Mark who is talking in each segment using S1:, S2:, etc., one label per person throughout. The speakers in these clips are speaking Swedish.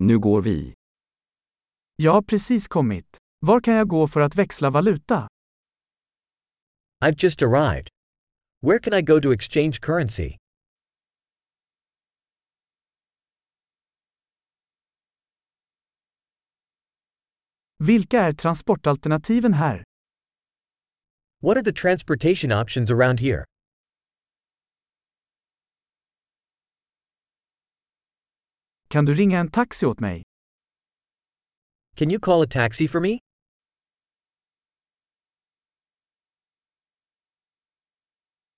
S1: Nu går vi.
S2: Jag har precis kommit. Var kan jag gå för att växla valuta?
S3: I've just arrived. Where can I go to exchange currency?
S2: Vilka är transportalternativen här?
S3: What are the transportation options around here?
S2: Kan du ringa en taxi åt mig?
S3: Can you call a taxi for me?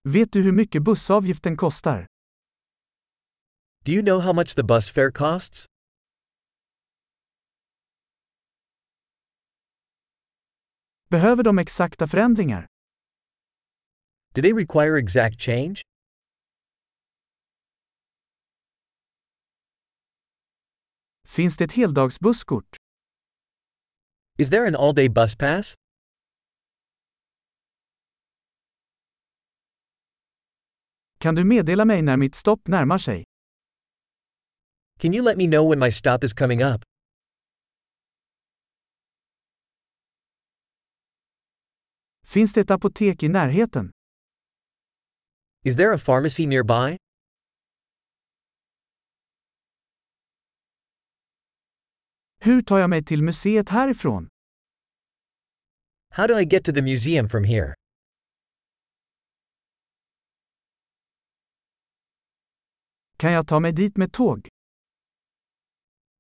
S2: Vet du hur mycket bussavgiften kostar?
S3: Do you know how much the bus fare costs?
S2: Behöver de exakta förändringar?
S3: Do they require exact change?
S2: Finns det ett heldagsbusskort?
S3: Is there an all day bus pass?
S2: Kan du meddela mig när mitt stopp närmar sig?
S3: Can you let me know when my stop is coming up?
S2: Finns det ett apotek i närheten?
S3: Is there a pharmacy nearby?
S2: Hur tar jag mig till museet härifrån?
S3: How do I get to the museum from here?
S2: Kan jag ta mig dit med tåg?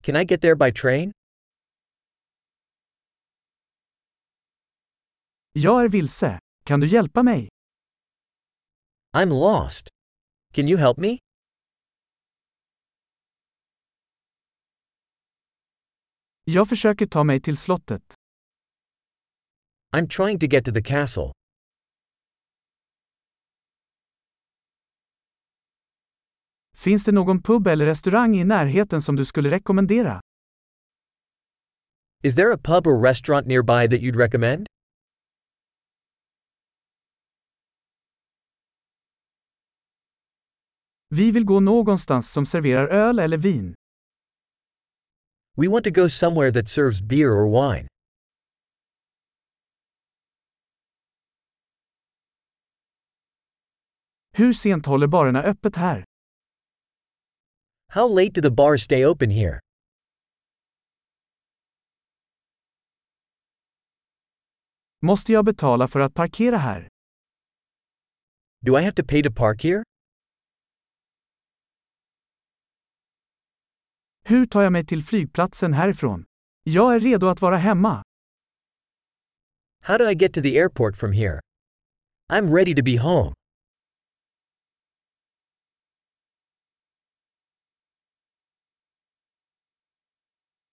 S3: Can I get there by train?
S2: Jag är vilse. Kan du hjälpa mig?
S3: I'm lost. Can you help me?
S2: Jag försöker ta mig till slottet.
S3: I'm trying to get to the castle.
S2: Finns det någon pub eller restaurang i närheten som du skulle rekommendera?
S3: Is there a pub or restaurant nearby that you'd recommend?
S2: Vi vill gå någonstans som serverar öl eller vin.
S3: We want to go somewhere that serves beer or wine.
S2: Hur sent håller barerna öppet här?
S3: How late do the bars stay open here?
S2: Måste jag betala för att parkera här?
S3: Do I have to pay to park here?
S2: Hur tar jag mig till flygplatsen härifrån? Jag är redo att vara hemma.
S3: How do I get to the airport from here? I'm ready to be home.